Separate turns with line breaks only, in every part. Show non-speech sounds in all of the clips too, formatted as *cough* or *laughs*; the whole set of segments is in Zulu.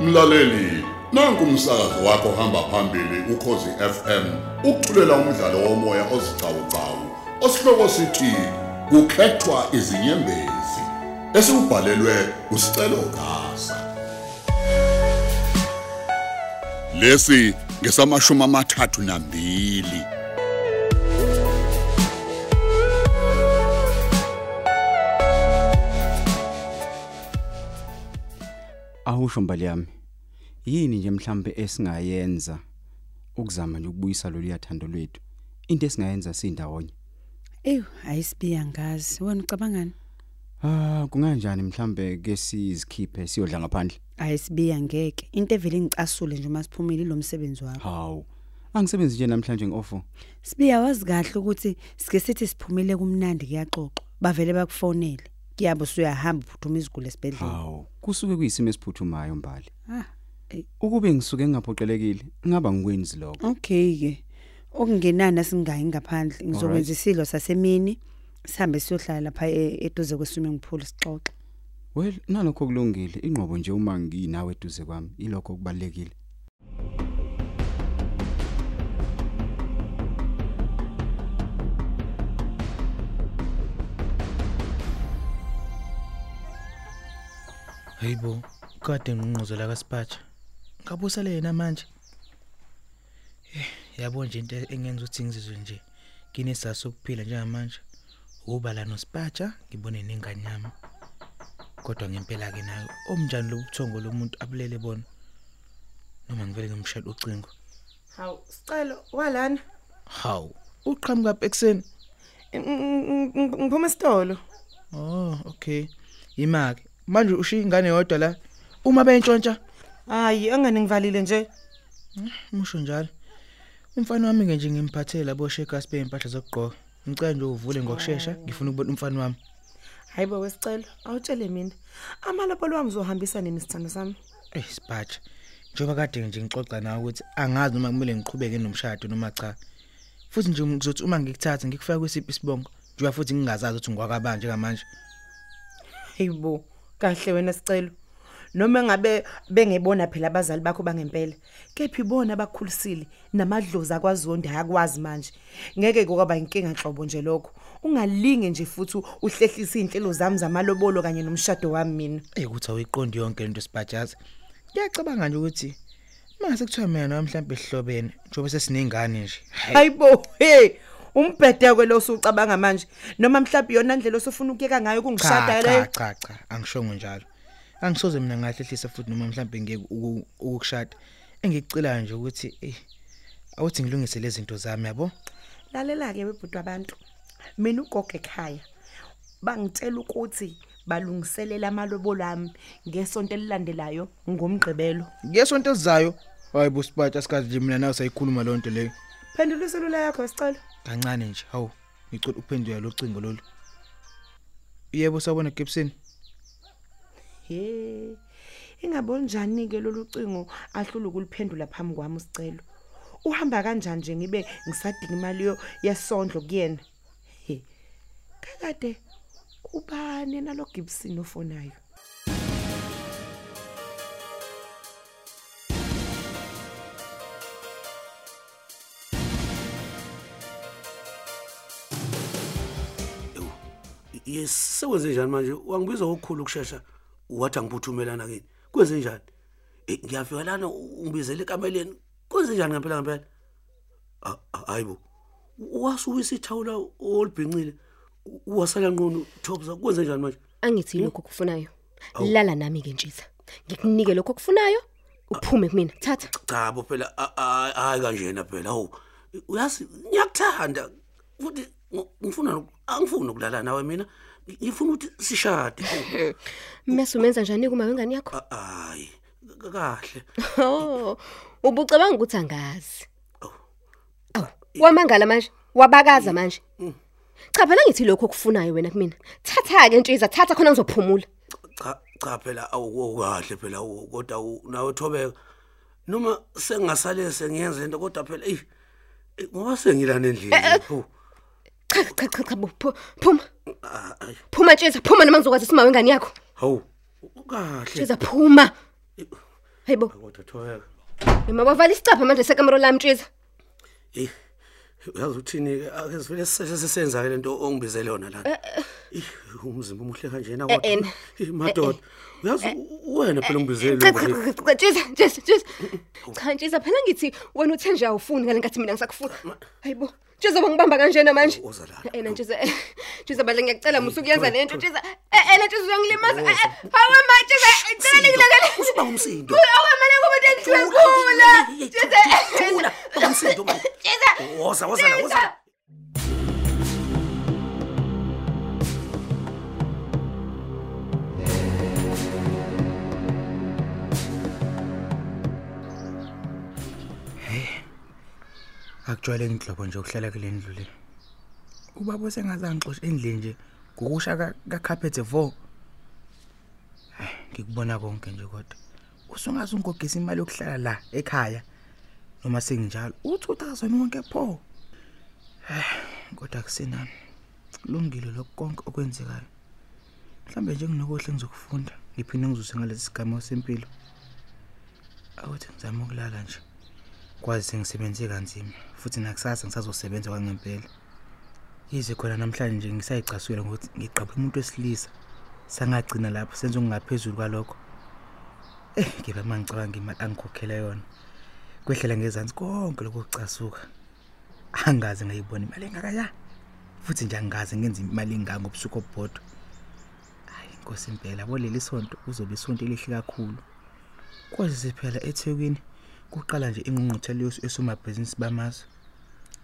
mlaleli nanku umsakazo wakho hamba phambili ukhozi FM ukuthulela umdlalo womoya ozicawucawu osihloko sithi kukhethwa izinyembezi esibhalelwe usicelo gaza lesi ngesamashumi amathathu nambili
awusho mbali yami yini nje mhlambe esingayenza ukuzama nje ukubuyisa lolu yathando lwethu into esingayenza sindawonye
Ew, ayisibiya ngazi. Wena ucabangani?
ah kunganjani mhlambe ke sizikhiphe siyodla ngaphandle
Ayisibiya ngeke. Into evele ngicasule nje uma siphumile lo msebenzi wakho.
hawu angisebenzi nje namhlanje ngiofo
Sibiya wazi kahle ukuthi sike sithi siphumile kumnandi kuyaxoxwa. Bavele bakufonele. Kuyabo suyahamba uphuthume izigulu esibedlela.
hawu kusuke kuyisimo esiphuthumayo mbali
Ah, eh,
ukube ngisuke ngingaphoqelekile ngaba ngikwenzi lokho
okay ke. Okungenana singayi ngaphandle. Ngizokwenza isilo sasemini. Sihambe siyohlala lapha e- eduze kwesume ngiphula sixoxe.
well nalokho kulungile ingqobo nje uma nginawe eduze kwami ilokho kubalekile
Hayibo, kade nginquzela kaSiphatha. Ngabusa le yena manje. Eh, yabo nje into engenza ukuthi ngizizwe nje kinesizathu sokuphila njengamanje. Uba la noSiphatha ngibone nengane yami. Kodwa ngempela ke nayo omnjani lobuthongo lomuntu abulele bona. Noma ngivele ngimshaya ucingo.
Hawu, sicelo walana.
Haw, uqhamuka phe ekseni.
Ngiphuma isitolo.
Oh, okay. Imake. Manje ushiya ingane yodwa la. Uma bayintshontsha
Hayi, engane ngivalile nje.
Musho njalo. Umfana wami ke nje ngimphathela boshekasi beimpahla zokugqoka. Ngicela nje uvule ngokusheshsha ngifuna ukubona umfana wami.
Hayibo wesicelo, awutshele mina. Amalapolo wami uzohambisa nini sithando sami?
Eh sibhathe. Njoba kade nje ngixoxa nawe ukuthi angazi noma kumele ngiqhubeke nomshado noma cha. Futhi nje ngizothi uma ngikuthatha ngikufaka kwesiphi isibongo. Njoba futhi ngingazazi ukuthi ngikwakabani njengamanje.
Hayibo, kahle wena sicelo. Noma ngabe bengebona phela abazali bakho bangempela. Kephi bona abakhulisile namadlozi akwazonda akwazi manje. Ngeke kwaba inkinga nhlobo nje lokho. Ungalinge nje futhi uhlehlisa izinhlelo zami zamalobolo kanye nomshado wami mina.
Eh ukuthi awuyiqondi yonke lento sibhathaza. Ngiyacabanga nje ukuthi mase kuthiwa mina nawe mhlawumbe sihlobene njoba sesinengane nje. Hayi
hayibo hey umbhedekwe lo usucabanga manje noma mhlawumbe yona ndlela osufuna ukuyeka ngayo
cha
kungishada
cha
le
cha cha angishongo njalo angisoze mina ngahlehlisa futhi noma mhlambe ngeke uku- ukukushada engikucelayo nje ukuthi eh awuthi ngilungise lezi zinto zami yabo
lalela ke webhuti abantu mina ugogo ekhaya bangitshela ukuthi balungiselela amalobolo ami ngesonto elilandelayo ngomgqibelo
ngesonto esizayo hayi busipatha asikazi nje mina nawe sayikhuluma loo nto leyo
phendula iselula yakho sicelo
kancane nje hawu ngicela uphendule lo cingo lolu yebo sabona Gibson
he ingaboni njani ke lolu cingo ahlula ukuliphendula phambi kwami usicelo uhamba kanjani nje ngibe ngisadinga imali yo- yesondlo kuyena he kakade ubani nalo Gibson ofonayo
yes sekwenze njani manje wangibiza kokukhulu ukushesha wathi angiphuthumelana kini kwenze njani Eh, ngiyafika lana u- ungibizele ekameleni kwenze njani ngempela ngempela Ah, ah, hayi bo wasuwisa ithawula olibhincile u- wasala nqunu thobza kwenze njani manje
angithi lokho kufunayo lala nami ke ntshiza ngikunike lokho kufunayo uphume kumina thatha
chabo phela a- a- hayi kanjena phela hawu uyazi ngiyakuthanda futhi ngi- ngifuna noku- angifuni ukulala nawe mina Ngi- ngifuna ukuthi sishade hawu.
mse umenza njani kuma wengane yakho
Ah, hayi ka- kahle
*laughs* oh ubucabanga ukuthi angazi
Oh.
aw wamangala manje wabakaza manje cha phela ngithi lokho kufunayo wena kumina thatha ke ntshiza thatha khona ngizophumula
cha cha phela awukahle phela awu- kodwa awu- nawe thobeka noma sengingasale sengiyenza into kodwa phela eyi eh, ngoba sengilana endlini Hu,
cha cha cha cha bo, phu- phuma
ah, ayi,
phuma
Eh.
ntshiza phuma noma ngizokwazi isima wengane yakho
hawu kahle
ntshiza phuma Hey bo,
kodwa thoyeka
noma bavala isicapha manje sekamero lami Ntshiza.
Eh, uyazi uthini ke ake sivele siseshe sisenza ke lento ongibize lona la. Eh, umzimba umuhle kanjena
Eh, eh.
kodwa. Eh, madoda. Uyazi u- wena phela ungibizele
Cha
lokho.
cha, cha, cha Ntshiza, Ntshiza, Ntshiza. Cha Ntshiza phela ngithi wena uthe nje awufuni ngale nkathi mina ngisakufuna. Hey bo, Ntshiza bangibamba kanjena manje.
Uza la.
Ena Ntshiza, eh, Ntshiza bale ngiyacela musu kuyenza lento Ntshiza. Eh, ena Ntshiza uyangilimaza. Eh, eh, Hawe manje Ntshiza, eh, ngicela ngilekele.
Usuba umsindo.
Awamele kuba
Thula,
ndengikula.
thula,
Ntshiza.
thula, baba umsindo, man.
Ntshiza.
Woza, woza la, woza la.
akujwayele inhlobo nje ukuhlala kule ndlu le ubaba sengazangixosha endlini nje ngokusha ka- kakhaphethe vo Hhayi, ngikubona konke nje kodwa usungaze ungogisa imali yokuhlala la ekhaya noma senginjalo u-2000 wonke pho Hhayi, kodwa kusenani kulungile lokhu konke okwenzekayo mhlawumbe nje kunokuhle ngizokufunda ngiphinde ngizuse ngalesi sigamo sempilo awuthi ngizame ukulala nje kwazi sengisebenze kanzima futhi nakusasa ngisazosebenza kwangempela yize khona namhlanje nje ngisayicasukela ngokuthi ngiqaphe umuntu wesilisa sangagcina lapho senze okungaphezulu kwalokho eh ngibe mangicabanga imali angikhokhele yona kwehlela ngezansi konke lokucasuka angaze ngayibona imali engaka ya futhi nje angaze ngenza imali engaka ngobusuku obhodwa hayi inkosi impela boleli sonto kuzobe isonto elihle kakhulu kwazi phela eThekwini kuqala nje ingqungquthela yosu esomabhizinisi bamazwe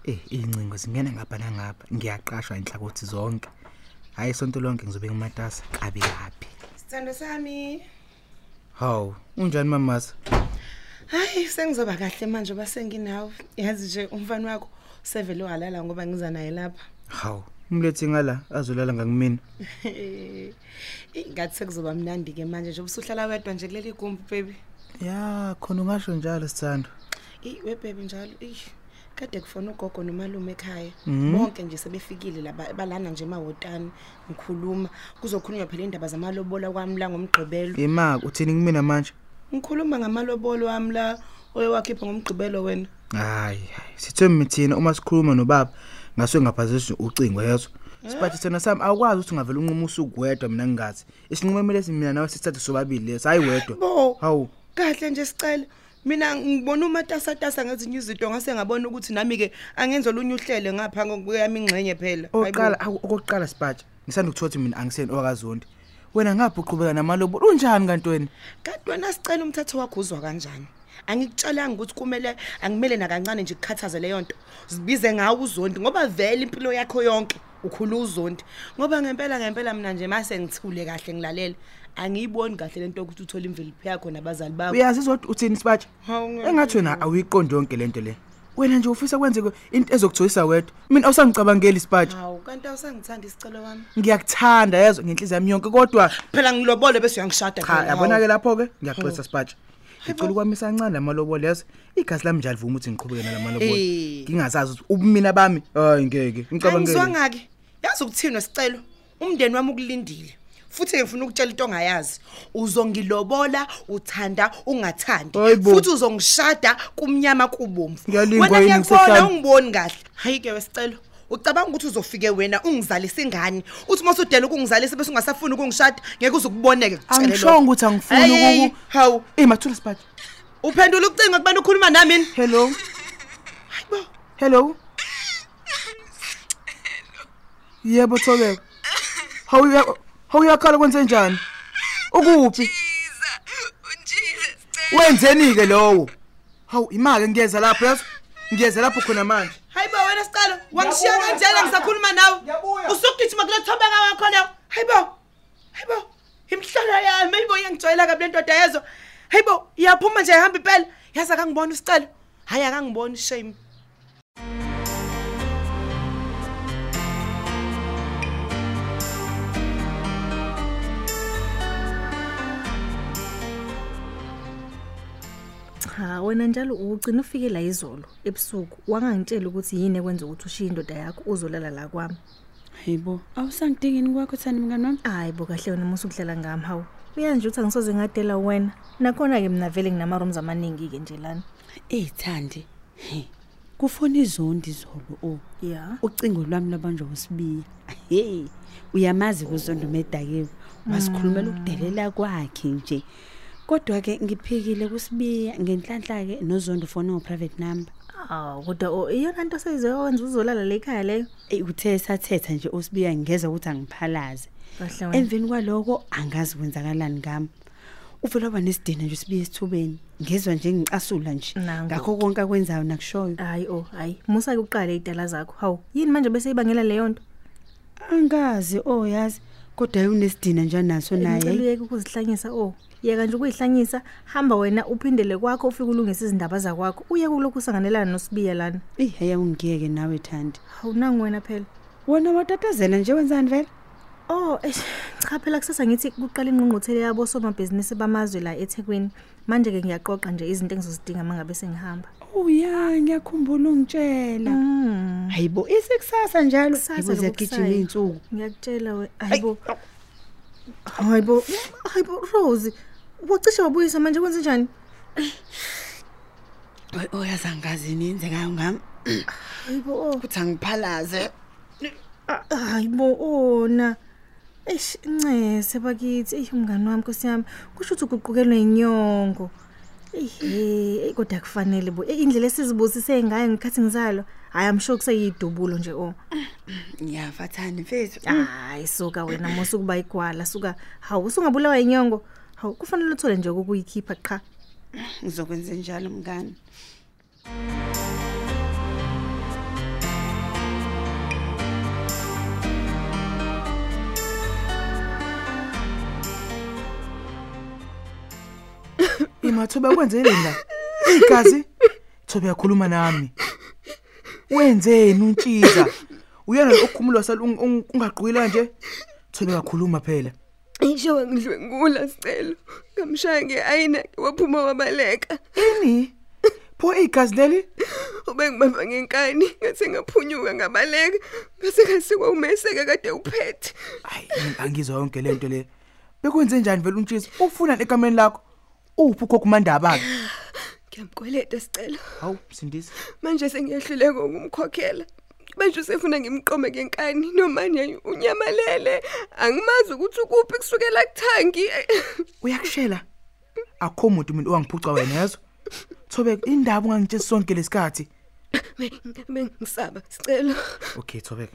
eh incingo zingena ngapha nangapha ngiyaqashwa inhlakothi zonke hayi sonto lonke ngizobe ngimatasa kabi kabi
Sithando sami.
haw unjani mamasa
Hayi sengizoba kahle manje basenginawe. Yazi nje umfana wakho sevele uhalala ngoba ngiza naye lapha. *laughs*
haw umlethi ngala azolala ngakumina
Ngathi sekuzoba mnandi ke manje nje ubusuhlala wedwa nje kuleli gumbi baby.
ya khona ungasho njalo sithando
Eh webebe njalo. Eh kade kufona ugogo nomalume ekhaya.
Mhm.
Bonke nje sebefikile laba balana nje emahotani ngikhuluma kuzokhulunywa phela indaba zamalobola kwami la ngomgqibelo.
yema uthini kumina manje
Ngikhuluma ngamalobolo wami la oyewakhipha ngomgqibelo wena.
hayi hayi sithembe thina uma sikhuluma nobaba ngase ngaphazisi ucingo yethu sibathi thina sami awukwazi ukuthi ungavela unqume usuku wedwa mina ngingathi isinqumo emele simina nawe sithathe sobabili leso hayi wedwa
Bo.
hawu
kahle nje sicela mina ngibona umatasatasa ngezinye izinto ngase ngabona ukuthi nami-ke angenze olunye uhlele ngapha kweyami ingxenye phela
oqala hawu, okokuqala sibatsha ngisanda ukuthola ukuthi mina angiseni owakazondi wena ngapha uqhubeka namalobo unjani kanti wena
kanti wena sicela umthetho wakho uzwa kanjani angikutshelanga ukuthi kumele angimele nakancane nje kukhathaze leyo nto zibize ngawo uzondi ngoba vele impilo yakho yonke ukhula uzondi ngoba ngempela ngempela mina nje mase ngithule kahle ngilalele angiyiboni kahle lento yokuthi uthole imveliphi yakho nabazali bakho
uyazi izodwa uthini sibatsha
Hawu, ngeke.
engathi wena awuyiqondi yonke lento le wena nje ufisa kwenzeke into ezokuthoyisa wedwa mina awusangicabangeli sibatsha
hawu kanti awusangithanda isicelo wami
ngiyakuthanda yezwa ngenhliziyo yami yonke kodwa
phela ngilobole bese uyangishada
cha
phela, hawu.
yabona-ke lapho-ke ngiyaxolisa sipatsha
bo.
ngicela ukwamisa kancane la malobo lezo igazi lami nje alivuma ukuthi ngiqhubeke nala malobo
Eh.
ngingazazi ukuthi ubumina bami hayi ngeke ngicabangele
angizwanga-ke yazi ukuthini sicelo umndeni wami ukulindile futhi ngifuna ukutshela into ongayazi uzongilobola uthanda ungathandi
Hayi bo.
futhi uzongishada kumnyama kubomvu
Ngiyalingwa
wena
yini
ngiyakubona
ngisehlane?
ungiboni kahle hhayi-ke wesicelo ucabanga ukuthi uzofike wena ungizalise ingane uthi uma usudela ukungizalisa bese ungasafuni ukungishada ngeke uze ukuboneke ngikucele
angishongo
lokho.
ukuthi angifuni
Hhayi, hhayi,
ukuku
hawu
ey mathula sipatsha
uphendula ucingo kubani ukhuluma namini
hello hello yebo thobeka hawu uya- hawu uyakhala kwenzenjani ukuphi
Ntshiza, uNtshiza sicela
wenzeni-ke lowo hawu ima-ke ngiyeza lapho yazo ngiyeza lapho khona manje
hayi bo wena sicelo wangishiya kanjena ngisakhuluma nawe usugijima kule thobeka wakhona hayi bo hayi bo imhlolo yami hayi bo iyangijwayela kabi le ndoda yezo hayi bo iyaphuma nje ihambe impela yazi akangiboni usicelo hhayi akangiboni ishame
Cha, wena njalo ugcina ufike la izolo ebusuku. Wangangitshela ukuthi yini ekwenza ukuthi ushiye indoda yakho uzolala la kwami.
hayibo awusangidingini kwakho thani mngani wami
Hayi bo kahle wena musu kudlala ngami hawo. uyazi nje ukuthi angisoze ngadela wena nakhona-ke mna vele nginama-rooms amaningi-ke nje lana
eyithandi he kufona izondi zolo oh. o
ya
ucingo lwami labanjwa usibiya hey uyamazi kuzondo medakewe wasikhulumela
Mm.
ukudelela kwakhe nje kodwa ke ngiphikile kusibiya ngenhlanhla ke nozondo fona ngo private number
aw kodwa o, iyona nto seyizewenza uzolala le khaya leyo
Eh, uthe sathetha nje usibiya ngeza ukuthi angiphalaze
kahle wena
emveni kwaloko angazi kwenzakalani ngami uvele waba nesidina nje usibiya esithubeni ngezwa nje ngicasula nje
Nangu.
ngakho konke akwenzayo nakushoyo
hayi o hayi musa-ke uqale iy'dala zakho hawu yini manje bese ibangela leyo nto
angazi oh yazi kodwa unesidina njanaso
ngicela
naye
uyeke ukuzihlanyisa o yeka nje ukuyihlanyisa hamba wena uphindele kwakho ufike ulungise izindaba zakwakho uyeke ulokhu usanganelana nosibiya lana
iheya ungiyeke nawe thandi
hawu nangu wena phela
wona watatazela nje wenzani vele
Oh, eish, cha phela kusasa ngithi kuqala ingqungquthele yabo somabhizinisi bamazwe la eThekwini. Manje ke ngiyaqoqa nje izinto engizozidinga mangabe sengihamba.
uya Oh, ngiyakhumbula ungitshela
Mm.
Ah. hayibo isekusasa njalo
Kusasa
hayibo
lokhu
ziyagijima
kusayo.
iy'nsuku
Ngiyakutshela we, hayibo. Hayibo, hayibo Rose. Wacishe wabuyisa manje kwenze njani?
Oy- oyazi angazini yenzekayo ngami
Hayibo, oh,
ukuthi angiphalaze
hayibo ona. Eish, ncese bakithi, eish umngani wami nkosiyami, kusho ukuthi uguqukelwe inyongo. Ehe, kodwa kufanele bo. eh, Indlela esizibusise ngayo ngikhathi ngizalo, hayi I'm sure kuseyidubulo nje oh.
ngiyafa thandi mfethu Ah,
hayi suka wena musa ukuba igwala suka hawu usungabulawa inyongo hawu kufanele uthole nje kokuyikhipha qha
ngizokwenze njalo mngani
imathoba kwenzeni la igazi thobe yakhuluma nami wenzeni untshiza uyena lo okhumulwa sala ungaqhwila nje thobe yakhuluma phela
Ishowa ngidlwe ngula sicelo. Ngamshaya ngeayina E, waphuma wabaleka.
ini pho igazi leli
Ube ngibamba ngenkani ngathi ngaphunyuka ngabaleka. Ngase ngasikwa umeseke kade uphethe.
hayi angizwa yonke lento le bekwenze njani vele untshiza ufuna egameni lakho uphi ukhokhumandabayo
Ngiyamkweleta sicelo.
hawu sindisa
Manje sengiyahluleka ukumkhokhela. Manje usefuna ngimqome ngenkani nomanje unyamalele. Angimazi ukuthi ukuphi kusukela kuthangi.
uyakushela akho muntu mina owangiphuca wena yezo thobe indaba ungangitshisi sonke lesikhathi
Bengisaba sicelo.
okay thobeka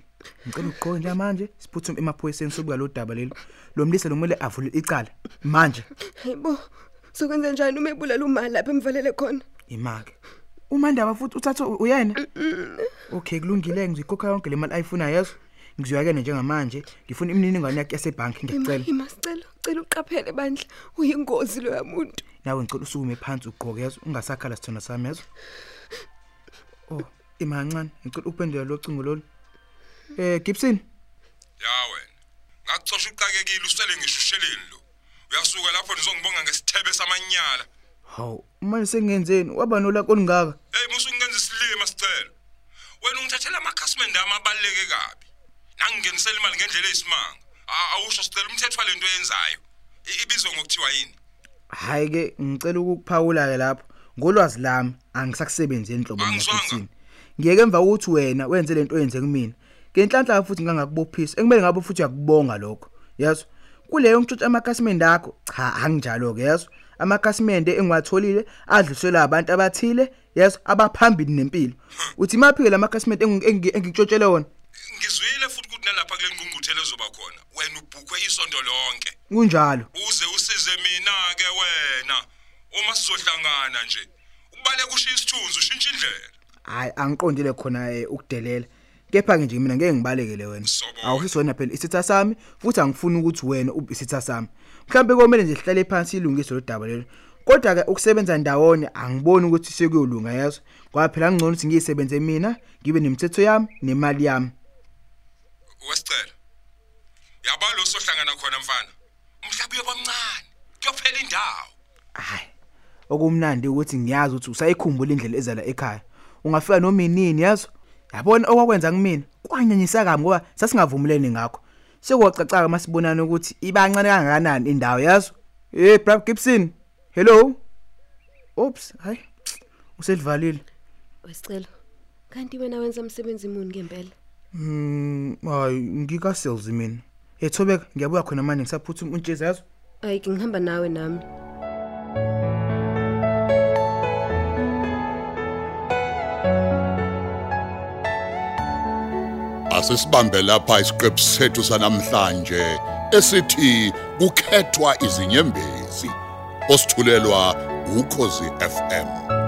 ngicela uqoke njengamanje siphuthume emaphoyiseni sobuka lo daba lelo lo mlisa lo kumele avule icala manje
Hayibo. Sokwenza njani uma ebulala umali lapha emvalele khona?
imake umandaba futhi uthathe uyena okay kulungile ngizoyikhokha yonke le mali ayifunayo yezo ngizoyakene njengamanje ngifuna imininingwane yakhe yasebhanki ngiyacela
Ima sicelo, cela uqaphele bandla, uyingozi lo yamuntu.
nawe ngicela usukume phansi ugqoke yezo ungasakhala sithona sami yezo oh ima kancane ngicela uphendula lo cingo lolu um gibson
Ya wena. Ngakucosha uqakekile usele ngishusheleni lo. Uyasuka lapho nizongibonga ngesithebe samanyala.
hawu manje sengenzeni waba nolaka olungaka
Hey musu ungenza isilima sicelo. Wena ungithathela amakhasimende amabaleke kabi. Nangingenisela imali ngendlela eyisimanga. A- Awusho sicela umthethwa lento oyenzayo. I- Ibizwa ngokuthiwa yini?
hhayi-ke ngicela ukukuphawula-ke lapho ngolwazi lami angisakusebenzi enhlobo
Angizwanga.
ngasini ngiyeke emva kokuthi wena wenze lento oyenze kumina ngenhlanhla futhi ngangakubophisa ekumele ngabe futhi uyakubonga lokho yezo kuleyo ngitshontsha amakhasimende akho cha anginjalo-ke yezo amakhasimende engiwatholile adluliselwa abantu abathile yezo abaphambili nempilo uthi imaphi-ke la makhasimende engi- engi- engikutshontshele wona
Ngizwile futhi ukuthi nalapha kule ngqungquthele ezoba khona. Wena ubhukwe isonto lonke.
kunjalo
Uze usize mina ke wena. Uma sizohlangana nje. Ubale kushiya isithunzi ushintsha indlela.
hayi angiqondile khona eh, ukudelela kepha-ke nje mina ngeke ngibalekele wena
Sawubona.
awusisona phela isitha sami futhi angifuni ukuthi wena ube isitha sami mhlawumbe komele nje sihlale phansi ilungise lo daba lelo kodwa-ke ukusebenza ndawonye angiboni ukuthi sekuyolunga yezo ngoba phela ngcono ukuthi ngiyisebenze mina ngibe nemithetho yami nemali yami
wesicela yaba lo sohlangana khona mfana umhlabi uyobamncane kuyophela indawo
hayi okumnandi ukuthi ngiyazi ukuthi usayikhumbula indlela ezala ekhaya ungafika noma inini yazo yabona okwakwenza kumina kwanyanyisa kami ngoba sasingavumelene ngakho sekuwacacaka masibonana ukuthi ibancane kangakanani indawo yazo Hey Brad Gibson. Hello. Oops, hayi. Uselivalile.
Wesicelo. Kanti wena wenza umsebenzi muni ngempela?
Mm, hayi ngika sales mina. Ethobeka ngiyabuya khona manje ngisaphutha untsheza yazo.
Hayi ngihamba nawe nami.
Asisibambe lapha isiqephu sethu sanamhlanje esithi kukhethwa izinyembezi osithulelwa ukhozi FM.